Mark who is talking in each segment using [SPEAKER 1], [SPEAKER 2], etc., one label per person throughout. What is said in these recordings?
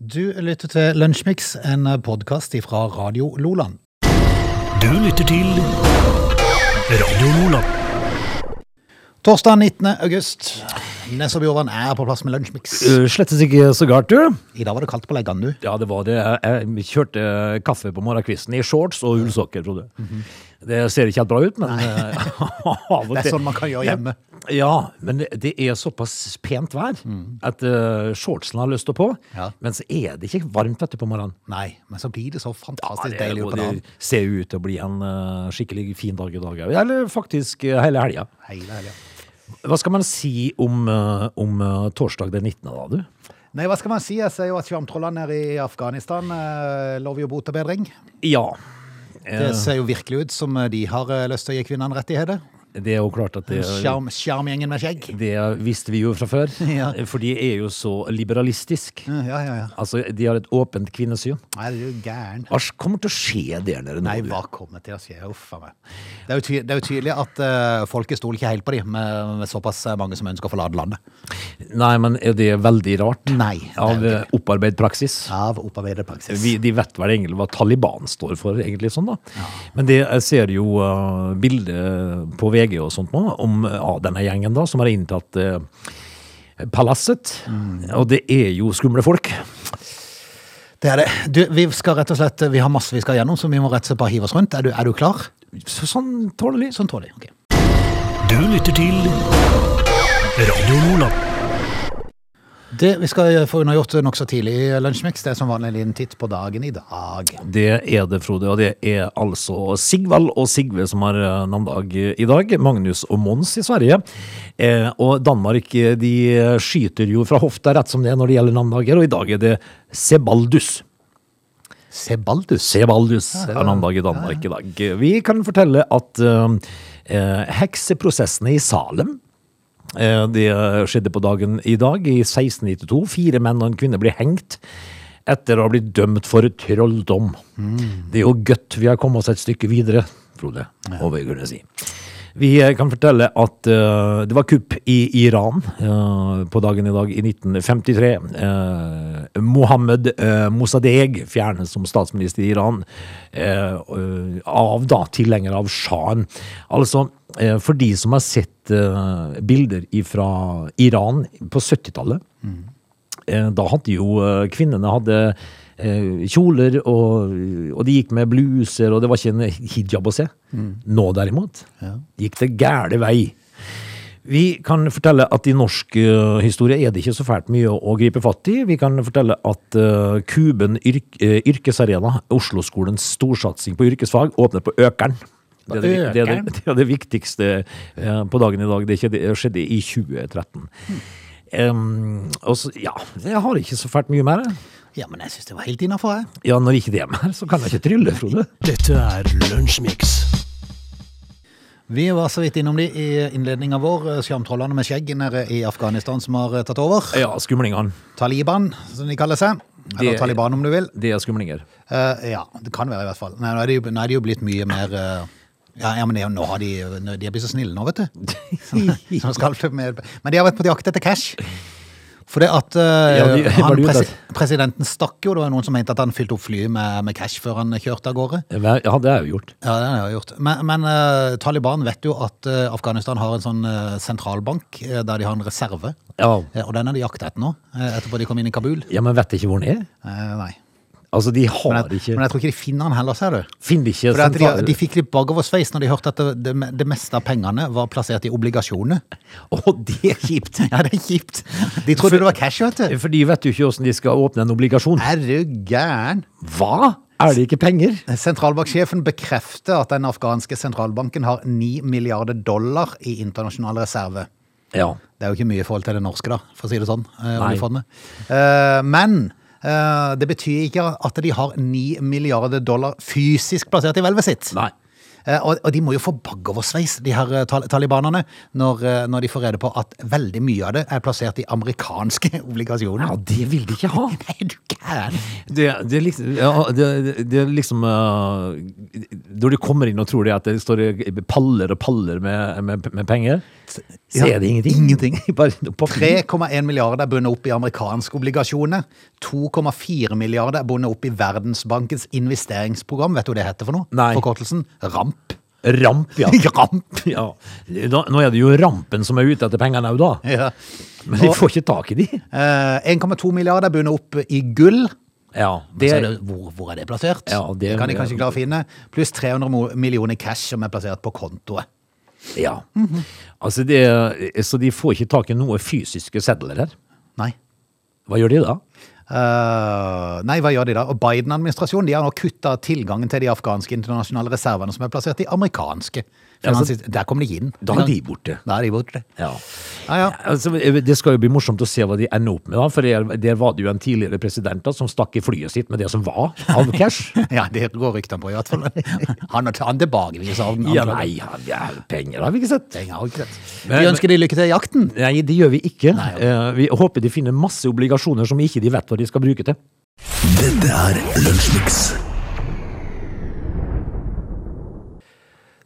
[SPEAKER 1] Du lytter til Lunsjmix, en podkast fra Radio Loland.
[SPEAKER 2] Du lytter til Radio Nordland.
[SPEAKER 1] Torsdag 19. august. Nes og Bjorvann er på plass med Lunsjmix.
[SPEAKER 3] Uh, Slettes ikke så galt, du.
[SPEAKER 1] I dag var det kaldt på leggene, du.
[SPEAKER 3] Ja, det var det. Jeg, jeg kjørte eh, kaffe på morgenkvisten i shorts og ullsokker, trodde jeg. Det ser ikke helt bra ut, men eh,
[SPEAKER 1] Mhm.
[SPEAKER 3] av og
[SPEAKER 1] Det er
[SPEAKER 3] til-
[SPEAKER 1] sånn man kan gjøre
[SPEAKER 3] Ja,
[SPEAKER 1] hjemme.
[SPEAKER 3] Ja, men det- det er såpass pent vær at eh, shortsen har lyst til på,
[SPEAKER 1] Mhm. Ja.
[SPEAKER 3] men så er det ikke varmt dette på morgenen.
[SPEAKER 1] Nei, men så blir det så fantastisk
[SPEAKER 3] det,
[SPEAKER 1] deilig
[SPEAKER 3] og
[SPEAKER 1] på dagen.
[SPEAKER 3] det ser jo ut til å bli en eh, skikkelig fin dag i dag, ja. eller faktisk eh, hele helga.
[SPEAKER 1] Hele helga.
[SPEAKER 3] Hva skal man si om, eh, om eh, torsdag den 19. da, du?
[SPEAKER 1] Nei, hva skal man si? Jeg ser jo at sjarmtrollene nede i Afghanistan eh, lover jo bot og bedring.
[SPEAKER 3] Ja.
[SPEAKER 1] Det
[SPEAKER 3] Eh,
[SPEAKER 1] ser jo virkelig ut som de har eh, lyst til å gi kvinnene rettigheter.
[SPEAKER 3] Det er jo klart at det
[SPEAKER 1] Sjarm- Sjarmgjengen med skjegg.
[SPEAKER 3] Det visste vi jo fra før,
[SPEAKER 1] Ja.
[SPEAKER 3] for de er jo så liberalistisk.
[SPEAKER 1] Ja, ja, ja.
[SPEAKER 3] Altså, De har et åpent kvinnesyn.
[SPEAKER 1] Nei, du er jo gæren.
[SPEAKER 3] Hva kommer til å skje der nede nå?
[SPEAKER 1] Nei,
[SPEAKER 3] du?
[SPEAKER 1] hva kommer til å skje? Uff a meg. Det er jo, ty det er jo tydelig at eh, folket stoler ikke helt på dem, med, med såpass eh, mange som ønsker å forlate landet.
[SPEAKER 3] Nei, men er det veldig rart?
[SPEAKER 1] Nei, det er
[SPEAKER 3] Av
[SPEAKER 1] jo
[SPEAKER 3] eh, opparbeidet praksis?
[SPEAKER 1] Av opparbeidet praksis.
[SPEAKER 3] Vi, de vet vel egentlig hva Taliban står for, egentlig sånn da. Men det, jeg ser jo eh, bilder på VG og sånt nå, om eh, av denne gjengen da, som har inntatt eh, palasset.
[SPEAKER 1] Mm.
[SPEAKER 3] Og det er jo skumle folk.
[SPEAKER 1] Det er det. Du, vi skal rett og slett, eh, vi har masse vi skal gjennom, så vi må rett og slett bare hive oss rundt. Er du, er du klar?
[SPEAKER 3] Så, sånn tåler de.
[SPEAKER 1] Sånn tåler jeg. ok.
[SPEAKER 2] Du lytter til Radio Nordland.
[SPEAKER 1] Det vi skal eh, få unnagjort nokså tidlig i Lunsjmix, det er som vanlig en liten titt på dagen i dag.
[SPEAKER 3] Det er det, Frode, og det er altså Sigvald og Sigve som har eh, navnedag eh, i dag. Magnus og Mons i Sverige. Eh, og Danmark eh, de eh, skyter jo fra hofta rett som det er når det gjelder navnedager, og i dag er det Sebaldus.
[SPEAKER 1] Sebaldus.
[SPEAKER 3] Sebaldus er navnedag i Danmark i dag. Vi kan fortelle at eh, eh, hekseprosessene i Salem Eh, Det skjedde på dagen i dag, i 1692. Fire menn og en kvinne ble hengt etter å ha blitt dømt for trolldom. Det er jo godt vi har kommet oss et stykke videre, Frode, må vi kunne si. Vi eh, kan fortelle at eh, det var kupp i Iran eh, på dagen i dag i 1953. Eh, Mohammed eh, Mossadegh fjernes som statsminister i Iran eh, eh, av da tilhenger av sjahen. Altså, eh, for de som har sett eh, bilder fra Iran på 70-tallet. Eh, Da hadde jo eh, kvinnene hadde eh, kjoler, og, og de gikk med bluser, og det var ikke en hijab å se. Nå derimot gikk det gæle vei. Vi kan fortelle at i norsk eh, historie er det ikke så fælt mye å, å gripe fatt i. Vi kan fortelle at eh, Kuben yrk, eh, yrkesarena, Oslo-skolens storsatsing på yrkesfag, åpner på Økeren. Det er det, det, er det, det, er det viktigste eh, på dagen i dag. Det skjedde, skjedde i 2013. Em, og så, ja, jeg har ikke så fælt mye mer. jeg.
[SPEAKER 1] Ja, men jeg synes det var helt innenfor, jeg.
[SPEAKER 3] Ja, når ikke det er mer, så kan jeg ikke trylle, Frode.
[SPEAKER 2] Dette er Lunsjmix.
[SPEAKER 1] Vi var så vidt innom de i innledningen vår, eh, sjarmtrollene med skjegg nede i Afghanistan som har eh, tatt over.
[SPEAKER 3] Ja, skumlingene.
[SPEAKER 1] Taliban, som de kaller seg. Eller
[SPEAKER 3] Det-
[SPEAKER 1] Taliban, om du vil.
[SPEAKER 3] Det er skumlinger.
[SPEAKER 1] Eh, ja, det kan være i hvert fall. Nei, nå er det jo, nå er det jo blitt mye mer eh, ja, ja, men det, er jo- nå har de, nå- de er blitt så snille nå, vet du. Så- så skal det mer- men de har vært på jakt etter cash. For det at eh,
[SPEAKER 3] Ja, de- var
[SPEAKER 1] han,
[SPEAKER 3] det jo
[SPEAKER 1] presi
[SPEAKER 3] det?
[SPEAKER 1] presidenten stakk jo, det var jo noen som mente at han fylte opp flyet med, med cash før han kjørte av gårde.
[SPEAKER 3] Ja, det har jeg jo gjort.
[SPEAKER 1] Ja, det har jeg gjort. Men, men eh, Taliban vet jo at eh, Afghanistan har en sånn eh, sentralbank eh, der de har en reserve.
[SPEAKER 3] Ja,
[SPEAKER 1] Eh, og den har de jakta etter nå, eh, etterpå de kom inn i Kabul.
[SPEAKER 3] ja men vet ikke hvor den er.
[SPEAKER 1] Eh, nei.
[SPEAKER 3] Altså, de har
[SPEAKER 1] Men jeg,
[SPEAKER 3] ikke
[SPEAKER 1] men jeg tror ikke de finner den heller, ser du.
[SPEAKER 3] Finner ikke
[SPEAKER 1] For de,
[SPEAKER 3] sentral-
[SPEAKER 1] de fikk litt bakoversveis når de hørte at det, det, det meste av pengene var plassert i obligasjoner.
[SPEAKER 3] Å, det er kjipt!
[SPEAKER 1] Ja, det er kjipt. De trodde det var cash, vet du.
[SPEAKER 3] For de vet jo ikke åssen de skal åpne en obligasjon.
[SPEAKER 1] Er du gæren?
[SPEAKER 3] Hva? Er det ikke penger?
[SPEAKER 1] Sentralbanksjefen bekrefter at den afghanske sentralbanken har 9 milliarder dollar i internasjonal reserve.
[SPEAKER 3] Ja.
[SPEAKER 1] Det er jo ikke mye i forhold til det norske, da, for å si det sånn. eh,
[SPEAKER 3] Nei.
[SPEAKER 1] oljefondet. Eh, Men eh, det betyr ikke at de har 9 milliarder dollar fysisk plassert i hvelvet sitt.
[SPEAKER 3] Nei.
[SPEAKER 1] Eh, Og, og de må jo få bagoversveis, de her eh, tal talibanerne, når, eh, når de får rede på at veldig mye av det er plassert i amerikanske obligasjoner.
[SPEAKER 3] Ja, det vil de ikke ha.
[SPEAKER 1] Nei, er du er den.
[SPEAKER 3] Det, det, er liksom, ja, det, det- det er liksom eh, Når du kommer inn og tror det at det står paller og paller med, med, med penger, så så
[SPEAKER 1] Ja,
[SPEAKER 3] er det ingenting. Bare noe papir.
[SPEAKER 1] 3,1 milliarder er bundet opp i amerikanske obligasjoner. 2,4 milliarder er bundet opp i Verdensbankens investeringsprogram. Vet du hva det heter for noe?
[SPEAKER 3] Nei.
[SPEAKER 1] Forkortelsen RAMP.
[SPEAKER 3] Ramp, ja.
[SPEAKER 1] Ramp!
[SPEAKER 3] ja. Da, nå er det jo rampen som er ute etter pengene òg, da.
[SPEAKER 1] Ja.
[SPEAKER 3] Men de får ikke tak i de.
[SPEAKER 1] Eh, 1,2 milliarder er bundet opp i gull.
[SPEAKER 3] Ja,
[SPEAKER 1] Men
[SPEAKER 3] det,
[SPEAKER 1] så er det, hvor, hvor er det plassert?
[SPEAKER 3] Ja, det-
[SPEAKER 1] kan de kanskje klare å finne. Pluss 300 mo- millioner cash som er plassert på kontoet.
[SPEAKER 3] ja. Altså det, så de får ikke tak i noe fysiske sedler her.
[SPEAKER 1] Nei.
[SPEAKER 3] Hva gjør de da?
[SPEAKER 1] Eh, nei, hva gjør de da? Og Biden-administrasjonen de har nå kutta tilgangen til de afghanske internasjonale reservene som er plassert i amerikanske.
[SPEAKER 3] Ja, så-
[SPEAKER 1] finansinst- Der kom de inn.
[SPEAKER 3] Da er de borte.
[SPEAKER 1] Da er de borte.
[SPEAKER 3] Ja.
[SPEAKER 1] Ja, ja.
[SPEAKER 3] Altså, det skal jo bli morsomt å se hva de ender opp med, da, for der, der var det jo en tidligere president da, som stakk i flyet sitt med det som var av cash.
[SPEAKER 1] Ja, det går ryktene på, i hvert fall. Han har han tilbakeviser han.
[SPEAKER 3] ja, nei, ja, ja, penger har vi ikke sett.
[SPEAKER 1] Penger har ikke rett.
[SPEAKER 3] Men-
[SPEAKER 1] Vi ønsker de lykke til i jakten.
[SPEAKER 3] Nei, det gjør vi ikke.
[SPEAKER 1] Nei, ok.
[SPEAKER 3] Eh, vi håper de finner masse obligasjoner som ikke de vet hva de skal bruke til.
[SPEAKER 2] Dette er Lunsjmix.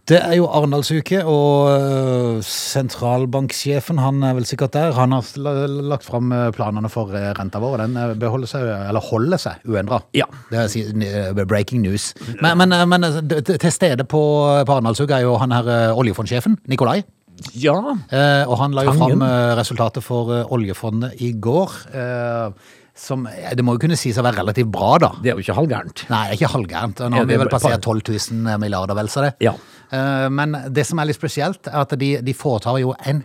[SPEAKER 1] Det er jo Arendalsuke, og øh, sentralbanksjefen han er vel sikkert der. Han har la- lagt fram planene for eh, renta vår, og den eh, beholder seg, eller holder seg uendra.
[SPEAKER 3] Ja.
[SPEAKER 1] Det er si- eh, breaking news. Men, men, eh, men eh, d- til stede på, på Arendalsuka er jo han her eh, oljefondsjefen, Nikolai.
[SPEAKER 3] Ja,
[SPEAKER 1] Eh, og han la jo
[SPEAKER 3] Tangen.
[SPEAKER 1] fram eh, resultatet for eh, oljefondet i går. eh, som eh, Det må jo kunne sies å være relativt bra, da.
[SPEAKER 3] det er jo ikke halvgærent.
[SPEAKER 1] Nei, det er ikke halvgærent. Nå
[SPEAKER 3] Ja,
[SPEAKER 1] har
[SPEAKER 3] det
[SPEAKER 1] vi
[SPEAKER 3] er
[SPEAKER 1] vel
[SPEAKER 3] bare-
[SPEAKER 1] passert 12 000 milliarder, vel, så det.
[SPEAKER 3] Ja.
[SPEAKER 1] Eh, Men det som er litt spesielt, er at de, de foretar jo en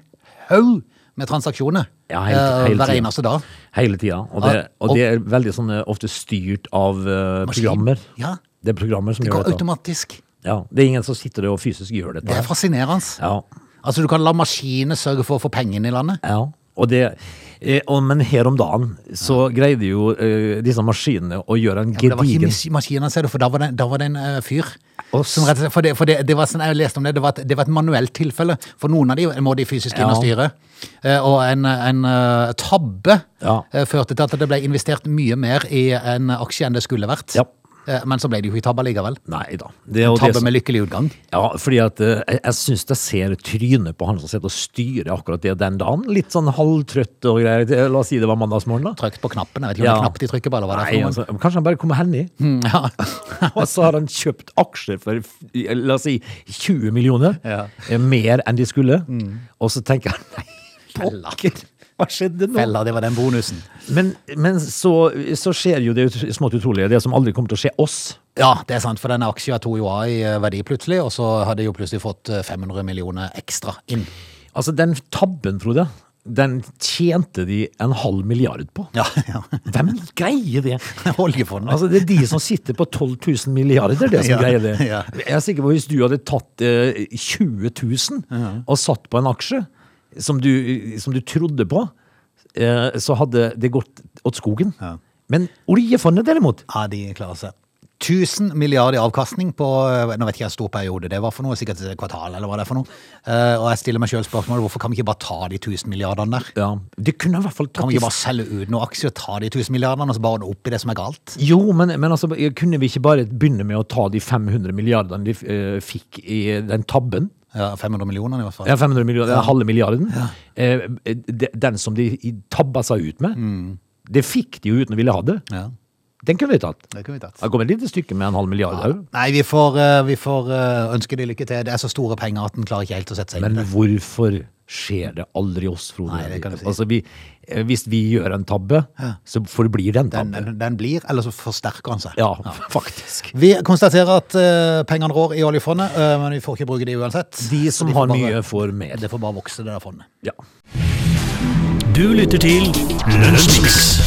[SPEAKER 1] haug med transaksjoner
[SPEAKER 3] Ja, hele ti-
[SPEAKER 1] eh,
[SPEAKER 3] hele
[SPEAKER 1] hver
[SPEAKER 3] tida.
[SPEAKER 1] eneste dag.
[SPEAKER 3] Hele tida. Og, det-
[SPEAKER 1] Ja,
[SPEAKER 3] og
[SPEAKER 1] og-
[SPEAKER 3] det er veldig sånn eh, ofte styrt av eh,
[SPEAKER 1] Maskin.
[SPEAKER 3] programmer.
[SPEAKER 1] Ja.
[SPEAKER 3] Det er programmer som
[SPEAKER 1] Det
[SPEAKER 3] gjør
[SPEAKER 1] går
[SPEAKER 3] dette.
[SPEAKER 1] automatisk.
[SPEAKER 3] Ja, det er ingen som sitter og fysisk gjør dette.
[SPEAKER 1] Det er fascinerende.
[SPEAKER 3] Ja,
[SPEAKER 1] Altså, du kan la maskiner sørge for å få pengene i landet.
[SPEAKER 3] ja. Og det, eh, og, men her om dagen så greide jo eh, disse maskinene å gjøre en
[SPEAKER 1] Men Det var ikke
[SPEAKER 3] gedigen
[SPEAKER 1] mas- maskiner, ser du, for da var det, da var det en eh, fyr.
[SPEAKER 3] Og
[SPEAKER 1] Som rett og slett, for det, for det, det var sånn, jeg leste om det, det var, et, det var et manuelt tilfelle. For noen av de må de fysisk inn og
[SPEAKER 3] Ja.
[SPEAKER 1] styre. Eh, Og en, en eh, tabbe
[SPEAKER 3] Ja.
[SPEAKER 1] eh, førte til at det ble investert mye mer i en aksje enn det skulle vært.
[SPEAKER 3] Ja.
[SPEAKER 1] Eh, Men så ble det jo ikke tabbe likevel.
[SPEAKER 3] Nei da. Det, og det,
[SPEAKER 1] Tabbe
[SPEAKER 3] som-
[SPEAKER 1] med lykkelig utgang.
[SPEAKER 3] ja, fordi at eh, jeg, jeg syns jeg ser trynet på han som sitter og styrer akkurat det den dagen. Litt sånn halvtrøtt og greier. Det- La oss si det var mandagsmorgen, da.
[SPEAKER 1] Trykt på knappen. Jeg vet ikke om det
[SPEAKER 3] Ja.
[SPEAKER 1] er knapp de trykker på, eller hva det er
[SPEAKER 3] Nei,
[SPEAKER 1] for noe.
[SPEAKER 3] altså, kanskje han bare kommer hendig.
[SPEAKER 1] Mm, Ja.
[SPEAKER 3] Og så har han kjøpt aksjer for eh, la oss si 20 millioner,
[SPEAKER 1] Ja. Mm.
[SPEAKER 3] eh, mer enn de skulle. Og så tenker han nei, pokker, hva skjedde nå?
[SPEAKER 1] Fella, det var den bonusen.
[SPEAKER 3] Men, men så, så skjer jo det ut- smått utrolige, det som aldri kommer til å skje oss.
[SPEAKER 1] Ja, det er sant, for denne aksja tok jo av i eh, verdi plutselig, og så hadde jo plutselig fått eh, 500 millioner ekstra inn.
[SPEAKER 3] Altså, den tabben, Frode, den tjente de en halv milliard på.
[SPEAKER 1] Ja, ja.
[SPEAKER 3] Hvem greier det?
[SPEAKER 1] Oljefondet.
[SPEAKER 3] Altså, det er de som sitter på 12 000 milliarder, det er det som
[SPEAKER 1] Ja,
[SPEAKER 3] greier det.
[SPEAKER 1] ja.
[SPEAKER 3] Jeg er sikker på at hvis du hadde tatt eh, 20 000 og satt på en aksje som du, som du trodde på, eh, så hadde det gått åt skogen.
[SPEAKER 1] Ja.
[SPEAKER 3] Men oljefondet derimot,
[SPEAKER 1] Ja, de klarer seg. 1000 milliarder i avkastning på eh, nå vet ikke jeg hvor stor periode det var for noe, sikkert et kvartal eller hva det er for noe. Eh, og jeg stiller meg sjøl spørsmålet hvorfor kan vi ikke bare ta de 1000 milliardene der?
[SPEAKER 3] ja, det kunne i hvert fall
[SPEAKER 1] Kan
[SPEAKER 3] tatt
[SPEAKER 1] vi ikke
[SPEAKER 3] i-
[SPEAKER 1] bare selge ut noen aksjer og ta de 1000 milliardene og så bare ordne opp i det som er galt?
[SPEAKER 3] Jo, men, men altså, kunne vi ikke bare begynne med å ta de 500 milliardene de eh, fikk i den tabben?
[SPEAKER 1] Ja, 500 millioner i hvert fall.
[SPEAKER 3] Ja, 500 millioner, den halve milliarden. Eh, de- den som de i- tabba seg ut med. Det fikk de jo uten å ville ha det.
[SPEAKER 1] Mm. Ja,
[SPEAKER 3] Den kunne vi tatt.
[SPEAKER 1] det kunne vi tatt.
[SPEAKER 3] Det kom et lite stykke med en halv milliard òg.
[SPEAKER 1] Nei, vi får, eh, vi får eh, ønske de lykke til. Det er så store penger at en klarer ikke helt å sette seg
[SPEAKER 3] Men
[SPEAKER 1] inn i det.
[SPEAKER 3] hvorfor skjer det aldri oss, Frode?
[SPEAKER 1] Nei, det kan du si.
[SPEAKER 3] altså, vi, eh, hvis vi gjør en tabbe, så forblir det en
[SPEAKER 1] Den,
[SPEAKER 3] tabbe.
[SPEAKER 1] den- den blir, eller så forsterker han seg.
[SPEAKER 3] Ja, faktisk.
[SPEAKER 1] Vi konstaterer at eh, pengene rår i oljefondet, eh, men vi får ikke bruke de uansett.
[SPEAKER 3] De
[SPEAKER 1] Så
[SPEAKER 3] som
[SPEAKER 1] får
[SPEAKER 3] har
[SPEAKER 1] bare-
[SPEAKER 3] mye, får mer.
[SPEAKER 1] Det får bare vokse, det der fondet.
[SPEAKER 3] Ja.
[SPEAKER 2] Du lytter til Lunsjmix.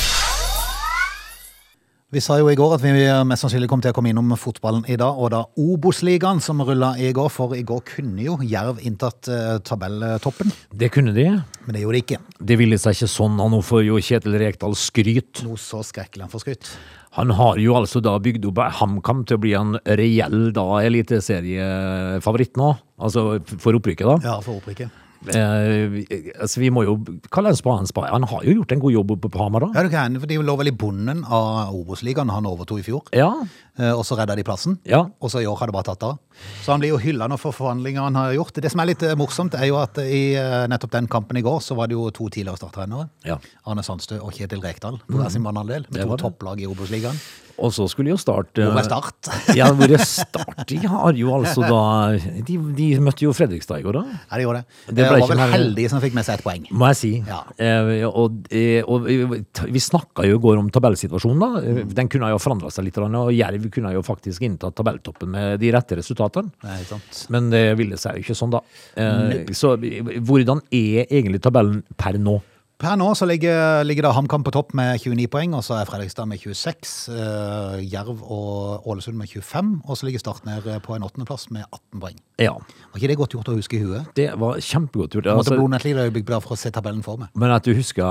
[SPEAKER 1] Vi sa jo i går at vi mest sannsynlig kom til å komme innom fotballen i dag, og da Obos-ligaen som rulla i går, for i går kunne jo Jerv inntatt eh, tabelltoppen,
[SPEAKER 3] Det kunne de.
[SPEAKER 1] men det gjorde de ikke.
[SPEAKER 3] Det ville seg ikke sånn, og nå får jo Kjetil Rekdal skryt.
[SPEAKER 1] Noe så skrekkelig han får skryt.
[SPEAKER 3] Han har jo altså da bygd opp HamKam til å bli en reell da eliteseriefavoritt nå, altså for opprykket, da.
[SPEAKER 1] Ja, for opprykket.
[SPEAKER 3] Eh, vi- altså, vi må jo kalle en spade en spade. Han har jo gjort en god jobb oppe på Hamar, da.
[SPEAKER 1] Ja, du kan, for De lå vel i bunnen av Obos-ligaen han overtok i fjor.
[SPEAKER 3] Ja.
[SPEAKER 1] Eh, Og så redda de plassen.
[SPEAKER 3] Ja.
[SPEAKER 1] Og så i år har det bare tatt av. Så han blir jo hylla nå for forhandlinger han har gjort. Det som er litt eh, morsomt, er jo at i eh, nettopp den kampen i går, så var det jo to tidligere starttrenere.
[SPEAKER 3] Ja.
[SPEAKER 1] Arne Sandstø og Kjetil Rekdal på hver sin mannandel. Med
[SPEAKER 3] Mm. Det
[SPEAKER 1] to
[SPEAKER 3] var det.
[SPEAKER 1] topplag i Obos-ligaen.
[SPEAKER 3] Og så skulle jo Start eh,
[SPEAKER 1] Hvor er Start?
[SPEAKER 3] ja, hvor er Start? De har jo altså da De, de møtte jo Fredrikstad i går, da.
[SPEAKER 1] Ja, de gjorde det.
[SPEAKER 3] Det
[SPEAKER 1] Det,
[SPEAKER 3] ble ikke
[SPEAKER 1] var vel
[SPEAKER 3] mer-
[SPEAKER 1] heldige som fikk med seg et poeng.
[SPEAKER 3] Må jeg si.
[SPEAKER 1] Ja.
[SPEAKER 3] Eh, og, eh, og vi- vi snakka jo i går om tabellsituasjonen, da. Eh,
[SPEAKER 1] Mm.
[SPEAKER 3] Den kunne jo forandra seg litt, og Jerv kunne jo faktisk inntatt tabelltoppen med de rette resultatene.
[SPEAKER 1] Nei, ikke sant?
[SPEAKER 3] Men det ville seg jo ikke sånn, da. Eh, så hvordan er egentlig tabellen per nå?
[SPEAKER 1] Per nå så ligger, ligger da HamKam på topp med 29 poeng, og så er Fredrikstad med 26, eh, Jerv og Ålesund med 25, og så ligger Start nede på en åttendeplass med 18 poeng.
[SPEAKER 3] Ja.
[SPEAKER 1] Var ikke det godt gjort å huske i huet?
[SPEAKER 3] Det var kjempegodt gjort.
[SPEAKER 1] Jeg måtte
[SPEAKER 3] Altså,
[SPEAKER 1] blo ned et lite øyeblikk bare for å se tabellen for meg.
[SPEAKER 3] men at du husker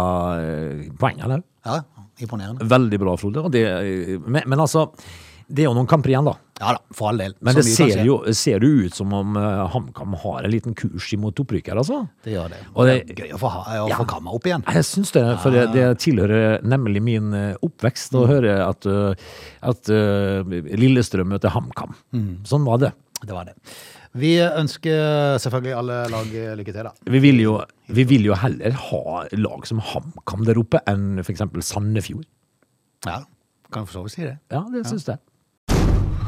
[SPEAKER 3] eh, poengene òg.
[SPEAKER 1] Ja, imponerende.
[SPEAKER 3] Veldig bra, Frode. Og det, eh, men, men altså, det er jo noen kamper igjen, da.
[SPEAKER 1] Ja da, for all del.
[SPEAKER 3] Men
[SPEAKER 1] Så
[SPEAKER 3] det
[SPEAKER 1] mye kan
[SPEAKER 3] ser
[SPEAKER 1] skje.
[SPEAKER 3] jo, ser jo ut som om eh, HamKam har en liten kurs imot opprykk her, altså.
[SPEAKER 1] Det gjør det.
[SPEAKER 3] Og
[SPEAKER 1] Og det
[SPEAKER 3] det-
[SPEAKER 1] er gøy å få, ha, å
[SPEAKER 3] Ja.
[SPEAKER 1] få kamma opp igjen.
[SPEAKER 3] Jeg syns det, for det, det tilhører nemlig min eh, oppvekst å høre at, eh, at eh, Lillestrøm møter HamKam. Sånn var det.
[SPEAKER 1] Mm, Det var det. Vi ønsker selvfølgelig alle lag lykke til, da.
[SPEAKER 3] Vi vil, jo, vi vil jo heller ha lag som HamKam der oppe, enn f.eks. Sandefjord.
[SPEAKER 1] Ja, kan for så vidt si det.
[SPEAKER 3] Ja, det syns jeg.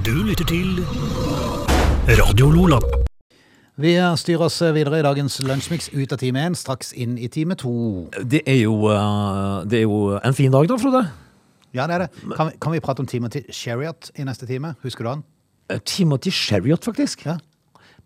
[SPEAKER 2] Du lytter til Radio Lola.
[SPEAKER 1] Vi styrer oss videre i dagens lunsjmix ut av time én, straks inn i time to.
[SPEAKER 3] Det er jo, eh, det er jo en fin dag, da, Frode.
[SPEAKER 1] Ja, det er det. Kan vi, kan vi prate om Timothy Sherriot i neste time? Husker du han?
[SPEAKER 3] Eh, Timothy Sherriot, faktisk.
[SPEAKER 1] Ja.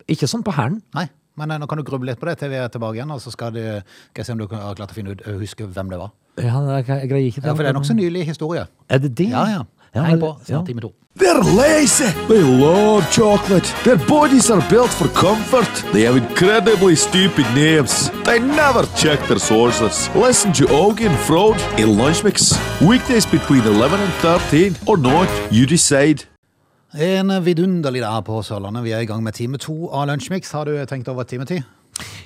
[SPEAKER 3] Ikke sånn på hælen.
[SPEAKER 1] Nei? Men eh, nå kan du gruble litt på det til vi er tilbake igjen, og så skal, det- skal jeg se om du kan- har klart å finne ut eh, huske hvem det var.
[SPEAKER 3] Ja, jeg greier ikke
[SPEAKER 1] Ja, For det er nokså nylig historie.
[SPEAKER 3] Er det det?
[SPEAKER 1] Ja, ja. Heng på, snart time to.
[SPEAKER 4] They're lazy. They love chocolate. Their bodies are built for comfort. They have incredibly stupid names. They never check their sources. Listen to Augie and Frode in Lunch Mix. Weekdays between 11 and 13 or not, you decide.
[SPEAKER 1] En vidunderlig dag på Sørlandet. Vi er i gang med time to av Lunsjmix. Har du tenkt over Timothy?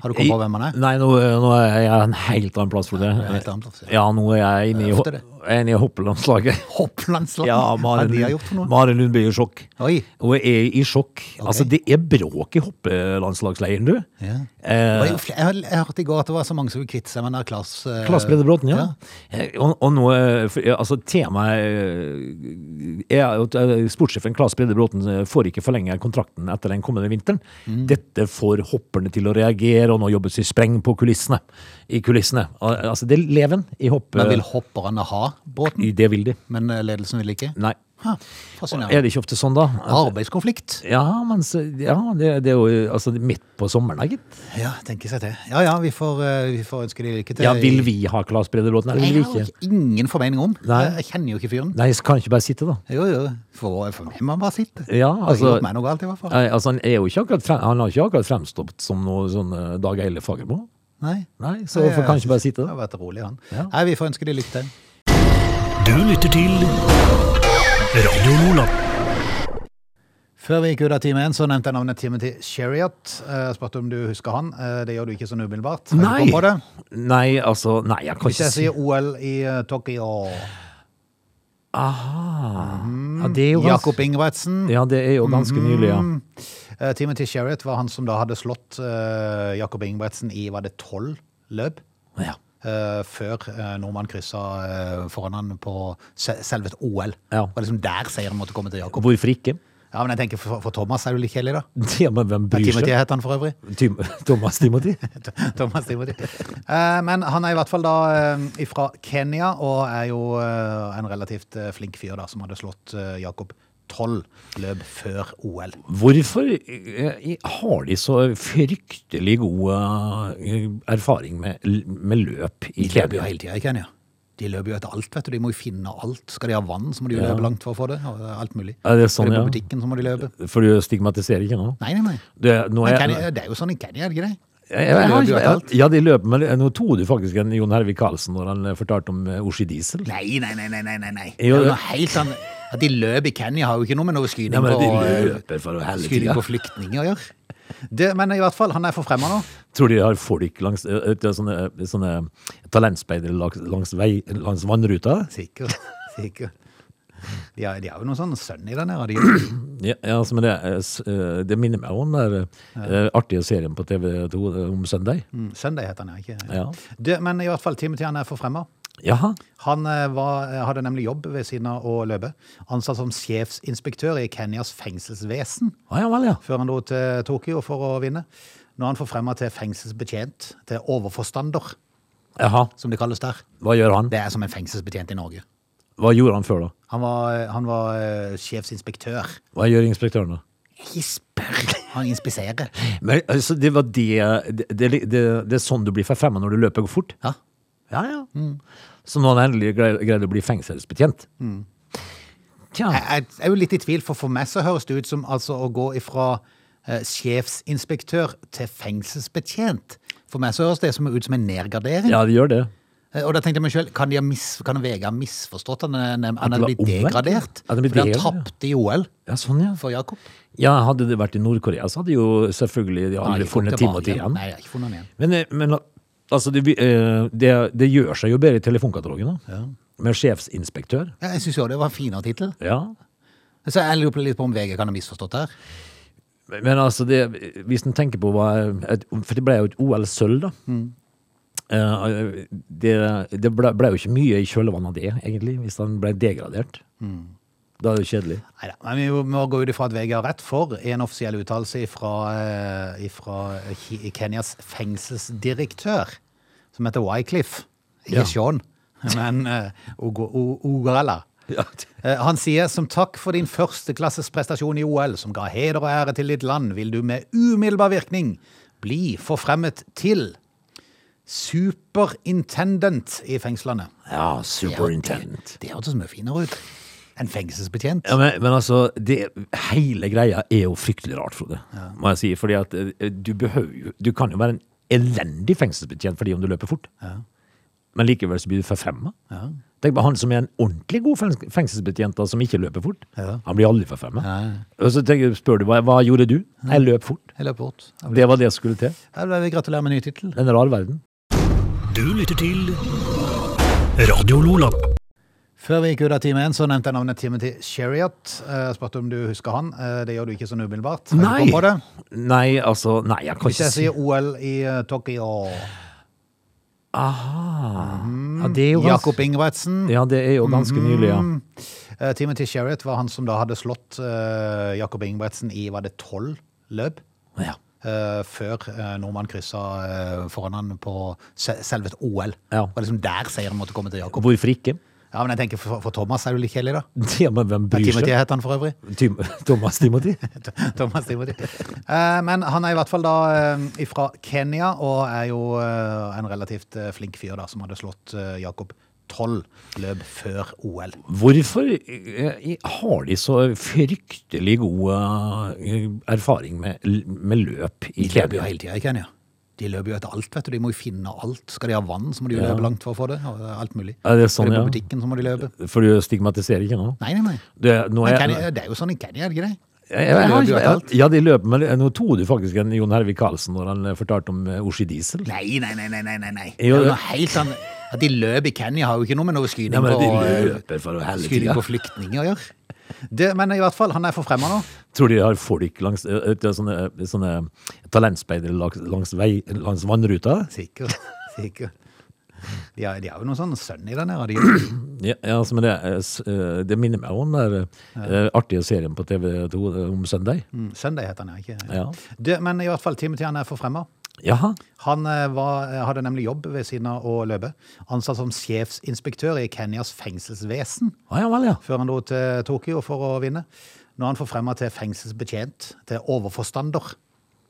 [SPEAKER 1] Har du kommet på hvem han er?
[SPEAKER 3] Nei, nå, eh, nå er jeg en helt annen plass, Frode.
[SPEAKER 1] er en helt annen plass,
[SPEAKER 3] Ja, nå er jeg inne i,
[SPEAKER 1] Ofte det.
[SPEAKER 3] ho- jeg er inne i hoppelandslaget.
[SPEAKER 1] Hopplandslaget?
[SPEAKER 3] Ja,
[SPEAKER 1] Hva er
[SPEAKER 3] Maren,
[SPEAKER 1] det de har gjort for noe?
[SPEAKER 3] Maren Lund blir i sjokk.
[SPEAKER 1] Oi.
[SPEAKER 3] Hun er i sjokk. Altså, det er bråk i hoppelandslagsleiren, du.
[SPEAKER 1] Ja. Det var
[SPEAKER 3] Eh,
[SPEAKER 1] jo fl- Jeg, hør- jeg hørte i går at det var så mange som ville kvitte seg med den der Klas... eh,
[SPEAKER 3] Klasse Peder Bråten, ja. Eh, Og, og nå, eh, for- ja, altså temaet eh, er at eh, sportssjefen Klasse Peder Bråten eh, får ikke forlenge kontrakten etter den kommende vinteren.
[SPEAKER 1] Mm.
[SPEAKER 3] Dette får hopperne til å reagere, og nå jobbes det i spreng på kulissene. I kulissene. Al- Altså, det er leven i hopp... eh,
[SPEAKER 1] Men vil hopperne ha båten?
[SPEAKER 3] i det vil de.
[SPEAKER 1] Men eh, ledelsen vil ikke?
[SPEAKER 3] Nei.
[SPEAKER 1] Ha,
[SPEAKER 3] Er
[SPEAKER 1] fascinerende.
[SPEAKER 3] det ikke ofte sånn, da?
[SPEAKER 1] Arbeidskonflikt?
[SPEAKER 3] Ja, men så, ja, det, det er jo altså, midt på sommeren, da, gitt.
[SPEAKER 1] Ja, tenker seg til. Ja ja, vi får, eh, vi får ønske de lykke til.
[SPEAKER 3] Ja, vil vi ha Claes Brede Bråten, eller vil
[SPEAKER 1] Jeg
[SPEAKER 3] vi
[SPEAKER 1] har
[SPEAKER 3] ikke?
[SPEAKER 1] ingen formening om.
[SPEAKER 3] Nei.
[SPEAKER 1] Jeg, jeg kjenner jo ikke fyren.
[SPEAKER 3] Nei, så kan ikke bare sitte, da.
[SPEAKER 1] Jo jo, for, for meg må han bare sitte.
[SPEAKER 3] Ja,
[SPEAKER 1] Har ikke
[SPEAKER 3] altså,
[SPEAKER 1] gjort meg noe galt i hvert fall.
[SPEAKER 3] Nei, altså han, er jo ikke akkurat frem, han har ikke akkurat fremstått som noe sånn eh, Dag Eile Fagermo.
[SPEAKER 1] Nei.
[SPEAKER 3] Nei, så hvorfor kan han ikke bare
[SPEAKER 1] Det
[SPEAKER 3] sitte der?
[SPEAKER 1] har vært rolig, han.
[SPEAKER 3] Ja.
[SPEAKER 1] Nei, vi får ønske de lykke til.
[SPEAKER 2] Du lytter til Radio Lola.
[SPEAKER 1] Før vi gikk ut av time 1, så nevnte jeg navnet Timothy Sherriot. Jeg spurte om du husker han. Eh, Det gjør du ikke sånn umiddelbart. Har du kommet på det?
[SPEAKER 3] Nei, altså Nei, jeg kan
[SPEAKER 1] Hvis
[SPEAKER 3] ikke
[SPEAKER 1] jeg
[SPEAKER 3] si
[SPEAKER 1] sier OL i eh, Tokyo
[SPEAKER 3] Aha. Ja, det er jo Mm. gans-
[SPEAKER 1] mm, Jakob Ingebrigtsen.
[SPEAKER 3] Ja, det er jo ganske nylig, ja.
[SPEAKER 1] Eh, Timothy Sherriot var han som da hadde slått eh, Jakob Ingebrigtsen i var det tolv løp?
[SPEAKER 3] Ja.
[SPEAKER 1] eh, før uh, nordmann kryssa eh, foran han på se selve OL.
[SPEAKER 3] Ja.
[SPEAKER 1] Det var liksom der seieren måtte komme til Jakob.
[SPEAKER 3] Hvorfor ikke?
[SPEAKER 1] Ja, men jeg tenker for, for Thomas er det jo litt kjedelig, da.
[SPEAKER 3] Ja, men hvem
[SPEAKER 1] Ja,
[SPEAKER 3] bryr
[SPEAKER 1] Timothy
[SPEAKER 3] seg?
[SPEAKER 1] het han for øvrig.
[SPEAKER 3] Tim Thomas Timothy?
[SPEAKER 1] Thomas Timothy. Eh, men han er i hvert fall da uh, fra Kenya, og er jo eh, en relativt eh, flink fyr da, som hadde slått eh, Jakob tolv løp før OL.
[SPEAKER 3] Hvorfor eh, har de så fryktelig god eh, erfaring med, l- med løp i
[SPEAKER 1] De løper jo
[SPEAKER 3] Kenya?
[SPEAKER 1] hele tida i Kenya. De løper jo etter alt, vet du. De må jo finne alt. Skal de ha vann, så må de jo
[SPEAKER 3] Ja.
[SPEAKER 1] løpe langt for å få det. og Alt mulig.
[SPEAKER 3] Er det
[SPEAKER 1] Skal
[SPEAKER 3] sånn,
[SPEAKER 1] de på
[SPEAKER 3] ja?
[SPEAKER 1] butikken, så må de løpe.
[SPEAKER 3] For du stigmatiserer ikke nå?
[SPEAKER 1] Nei, nei, nei.
[SPEAKER 3] Det, nå
[SPEAKER 1] Men
[SPEAKER 3] er,
[SPEAKER 1] Kenya, det er jo sånn i Kenya, er det ikke det?
[SPEAKER 3] Jeg, jeg,
[SPEAKER 1] De
[SPEAKER 3] jeg,
[SPEAKER 1] løper jo etter alt.
[SPEAKER 3] ja, de løper, men eh, nå tog du faktisk en Jon Hervik Karlsen når han eh, fortalte om eh, Oshi Diesel.
[SPEAKER 1] Nei, nei, nei, nei, nei, nei, nei. Det er
[SPEAKER 3] Jo,
[SPEAKER 1] jo
[SPEAKER 3] jo.
[SPEAKER 1] noe helt sånn annet. At de løper i Kenya har jo ikke noe med noe skyting
[SPEAKER 3] Nei, men
[SPEAKER 1] på,
[SPEAKER 3] de
[SPEAKER 1] eh,
[SPEAKER 3] løper for hele
[SPEAKER 1] skyting
[SPEAKER 3] tida.
[SPEAKER 1] på flyktninger å gjøre. Det, men i hvert fall, han er forfremma nå.
[SPEAKER 3] Tror de har folk langs eh, eh, sånne, eh, sånne talentspeidere langs, langs, vei, langs vannruta?
[SPEAKER 1] Sikkert. sikkert. De har, de har jo noen sånne sønn i den her. og De,
[SPEAKER 3] Ja, ja, altså, men det, eh, s- eh, det minner meg om den der, eh, artige serien på TV 2 eh, om søndag.
[SPEAKER 1] mm, Søndag heter han, ja. ikke?
[SPEAKER 3] Ja.
[SPEAKER 1] Det, men i hvert fall, Timothy han er forfremma.
[SPEAKER 3] Jaha.
[SPEAKER 1] Han eh, var, hadde nemlig jobb ved siden av å løpe. Ansatt som sjefsinspektør i Kenyas fengselsvesen.
[SPEAKER 3] Ah, ja vel, ja.
[SPEAKER 1] før han dro til Tokyo for å vinne. Nå er han forfremma til fengselsbetjent, til overforstander,
[SPEAKER 3] Jaha.
[SPEAKER 1] som det kalles der.
[SPEAKER 3] Hva gjør han?
[SPEAKER 1] Det er som en fengselsbetjent i Norge.
[SPEAKER 3] Hva gjorde han før, da?
[SPEAKER 1] Han var, han var eh, sjefsinspektør.
[SPEAKER 3] Hva gjør inspektøren, da?
[SPEAKER 1] Ikke spør! Han inspiserer.
[SPEAKER 3] Men, altså, det, var det, det, det, det, det er sånn du blir forfremma når du løper fort?
[SPEAKER 1] Ja.
[SPEAKER 3] Ja, ja. Så nå har han endelig grei- greid å bli fengselsbetjent? Tja.
[SPEAKER 1] Jeg, jeg er jo litt i tvil, for for meg så høres det ut som altså å gå ifra eh, sjefsinspektør til fengselsbetjent. For meg så høres det som, ut som en nedgradering.
[SPEAKER 3] Ja, det gjør det.
[SPEAKER 1] Eh, Og da tenkte jeg meg selv, kan, de ha mis, kan Vegard ha misforstått han? Han er- han
[SPEAKER 3] det
[SPEAKER 1] er
[SPEAKER 3] var
[SPEAKER 1] blitt
[SPEAKER 3] omvendt, ja.
[SPEAKER 1] degradert.
[SPEAKER 3] At han er blitt
[SPEAKER 1] Fordi han
[SPEAKER 3] degradert, ja.
[SPEAKER 1] tapte i OL
[SPEAKER 3] Ja, sånn, ja.
[SPEAKER 1] for Jakob.
[SPEAKER 3] ja. Hadde det vært i Nord-Korea, så hadde jo selvfølgelig de
[SPEAKER 1] Nei,
[SPEAKER 3] aldri
[SPEAKER 1] ikke kommet
[SPEAKER 3] funnet Timothy
[SPEAKER 1] tilbake igjen.
[SPEAKER 3] igjen.
[SPEAKER 1] Nei, jeg har ikke funnet han igjen.
[SPEAKER 3] Men, eh, men altså, det, vi- eh, det, det gjør seg jo bedre i telefonkatalogen, da. Med sjefsinspektør.
[SPEAKER 1] Ja, Jeg syns jo det var en finere tittel.
[SPEAKER 3] Ja.
[SPEAKER 1] Så jeg lurer på litt på om VG kan ha misforstått det her.
[SPEAKER 3] Men altså, det, hvis en tenker på hva et, For det ble jo et OL-sølv, da. Eh, det det ble, ble jo ikke mye i kjølvannet av det, egentlig, hvis han ble degradert. Da er det jo kjedelig.
[SPEAKER 1] Neida, men vi må gå ut ifra at VG har rett, for i en offisiell uttalelse eh, fra Kenyas fengselsdirektør, som heter Wycliffe, ikke
[SPEAKER 3] Ja.
[SPEAKER 1] Sean, men eh, Ugo- U- Ugarella. Eh, Han sier som takk for din førsteklasses prestasjon i OL, som ga heder og ære til ditt land, vil du med umiddelbar virkning bli forfremmet til superintendent i fengslene.
[SPEAKER 3] Ja, superintendent.
[SPEAKER 1] Det hørtes mye finere ut. En fengselsbetjent.
[SPEAKER 3] Ja, men, men altså, det, hele greia er jo fryktelig rart, Frode. Må jeg si. Fordi at eh, du behøver jo Du kan jo være en elendig fengselsbetjent fordi om du løper fort. Men likevel så blir du forfremma. Tenk på han som er en ordentlig god fengs- fengselsbetjent da, som ikke løper fort. Han blir aldri forfremma. Og så tenker, spør du hva, hva gjorde du? Jeg løp fort.
[SPEAKER 1] Jeg løper bort. Jeg
[SPEAKER 3] Det var det jeg skulle til.
[SPEAKER 1] vil gratulere med ny tittel.
[SPEAKER 3] Det er en rar verden.
[SPEAKER 2] Du lytter til Radio Lola.
[SPEAKER 1] Før vi gikk ut av time 1, så nevnte jeg navnet Timothy Sherriot. Jeg spurte om du husker han. Eh, Det gjør du ikke sånn umiddelbart. Har du kommet På det?
[SPEAKER 3] Nei, altså Nei, jeg kan
[SPEAKER 1] Hvis
[SPEAKER 3] ikke
[SPEAKER 1] jeg
[SPEAKER 3] si
[SPEAKER 1] sier OL i eh, Tokyo
[SPEAKER 3] ja, det er jo gans-
[SPEAKER 1] mm, Jakob Mm. Ingebrigtsen.
[SPEAKER 3] Ja, det er jo ganske nylig, ja.
[SPEAKER 1] Eh, Timothy Sherriot var han som da hadde slått eh, Jakob Ingebrigtsen i var det tolv løp?
[SPEAKER 3] Ja.
[SPEAKER 1] eh, før uh, nordmann kryssa eh, foran han på se selve OL.
[SPEAKER 3] Ja.
[SPEAKER 1] Det var liksom der seieren måtte komme til Jakob.
[SPEAKER 3] Hvorfor ikke?
[SPEAKER 1] Ja, men jeg tenker For, for Thomas er det jo litt kjedelig, da.
[SPEAKER 3] Ja, men hvem
[SPEAKER 1] Ja,
[SPEAKER 3] bryr seg?
[SPEAKER 1] Timothy het han for øvrig.
[SPEAKER 3] Tim Thomas Timothy?
[SPEAKER 1] Thomas Timothy. Eh, men han er i hvert fall da uh, fra Kenya, og er jo eh, en relativt eh, flink fyr da, som hadde slått eh, Jakob tolv løp før OL.
[SPEAKER 3] Hvorfor eh, har de så fryktelig god eh, erfaring med, l- med løp i
[SPEAKER 1] De løper jo
[SPEAKER 3] Kenya?
[SPEAKER 1] hele tida i Kenya. De løper jo etter alt, vet du. De må jo finne alt. Skal de ha vann, så må de jo
[SPEAKER 3] Ja.
[SPEAKER 1] løpe langt for å få det. og Alt mulig.
[SPEAKER 3] Er det
[SPEAKER 1] Skal
[SPEAKER 3] sånn,
[SPEAKER 1] de på
[SPEAKER 3] ja?
[SPEAKER 1] butikken, så må de løpe.
[SPEAKER 3] For du stigmatiserer ikke nå?
[SPEAKER 1] Nei, nei, nei.
[SPEAKER 3] Det, nå
[SPEAKER 1] Men
[SPEAKER 3] er,
[SPEAKER 1] Kenya, det er jo sånn i Kenya, er det ikke det?
[SPEAKER 3] jeg, jeg,
[SPEAKER 1] de løper jo
[SPEAKER 3] jeg,
[SPEAKER 1] etter alt.
[SPEAKER 3] ja, de løper, men nå tog du faktisk en Jon Hervik Karlsen når han eh, fortalte om eh, Oshi Diesel.
[SPEAKER 1] Nei, nei, nei, nei, nei, nei. nei. Det er
[SPEAKER 3] Jo,
[SPEAKER 1] jo
[SPEAKER 3] ja.
[SPEAKER 1] noe helt annet. At de løper i Kenya har jo ikke noe med noe skyting
[SPEAKER 3] Nei, men de
[SPEAKER 1] på, eh,
[SPEAKER 3] løper for hele
[SPEAKER 1] skyting
[SPEAKER 3] tida.
[SPEAKER 1] på flyktninger å gjøre. Det, men i hvert fall, han er forfremma nå.
[SPEAKER 3] Tror de har folk langs eh, eh, sånne, eh, sånne talentspeidere langs, langs, vei, langs vannruta?
[SPEAKER 1] Sikkert. sikkert. De har, de har jo noen sånn sønn i den her. og De,
[SPEAKER 3] Ja, ja, altså, men det, eh, s- eh, det minner meg om den der eh, artige serien på TV 2 eh, om søndag.
[SPEAKER 1] mm, søndag heter han, ja. ikke?
[SPEAKER 3] Ja.
[SPEAKER 1] Det, men i hvert fall, Timothy han er forfremma.
[SPEAKER 3] Jaha.
[SPEAKER 1] Han eh, var, hadde nemlig jobb ved siden av å løpe. Ansatt som sjefsinspektør i Kenyas fengselsvesen
[SPEAKER 3] Ah, ja vel, ja.
[SPEAKER 1] før han dro til Tokyo for å vinne. Nå er han forfremma til fengselsbetjent, til overforstander,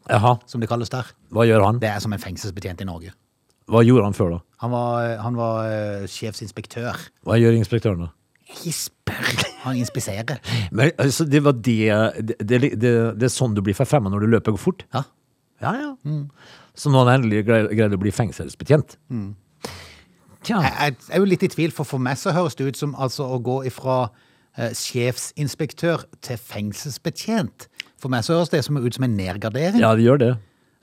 [SPEAKER 3] Jaha.
[SPEAKER 1] som det kalles der.
[SPEAKER 3] Hva gjør han?
[SPEAKER 1] Det er som en fengselsbetjent i Norge.
[SPEAKER 3] Hva gjorde han før, da?
[SPEAKER 1] Han var, han var eh, sjefsinspektør.
[SPEAKER 3] Hva gjør inspektøren, da?
[SPEAKER 1] Ikke spør! Han inspiserer.
[SPEAKER 3] Men, altså, det, var det, det, det, det, det er sånn du blir forfremma når du løper fort?
[SPEAKER 1] Ja. Mm.
[SPEAKER 3] Ja, ja. Så nå har han endelig grei- greid å bli fengselsbetjent?
[SPEAKER 1] Mm.
[SPEAKER 3] Tja.
[SPEAKER 1] Jeg, jeg jeg er jo litt i tvil, for for meg så høres det ut som altså å gå ifra eh, sjefsinspektør til fengselsbetjent. For meg så høres det som, ut som en nedgradering.
[SPEAKER 3] Ja, de gjør det.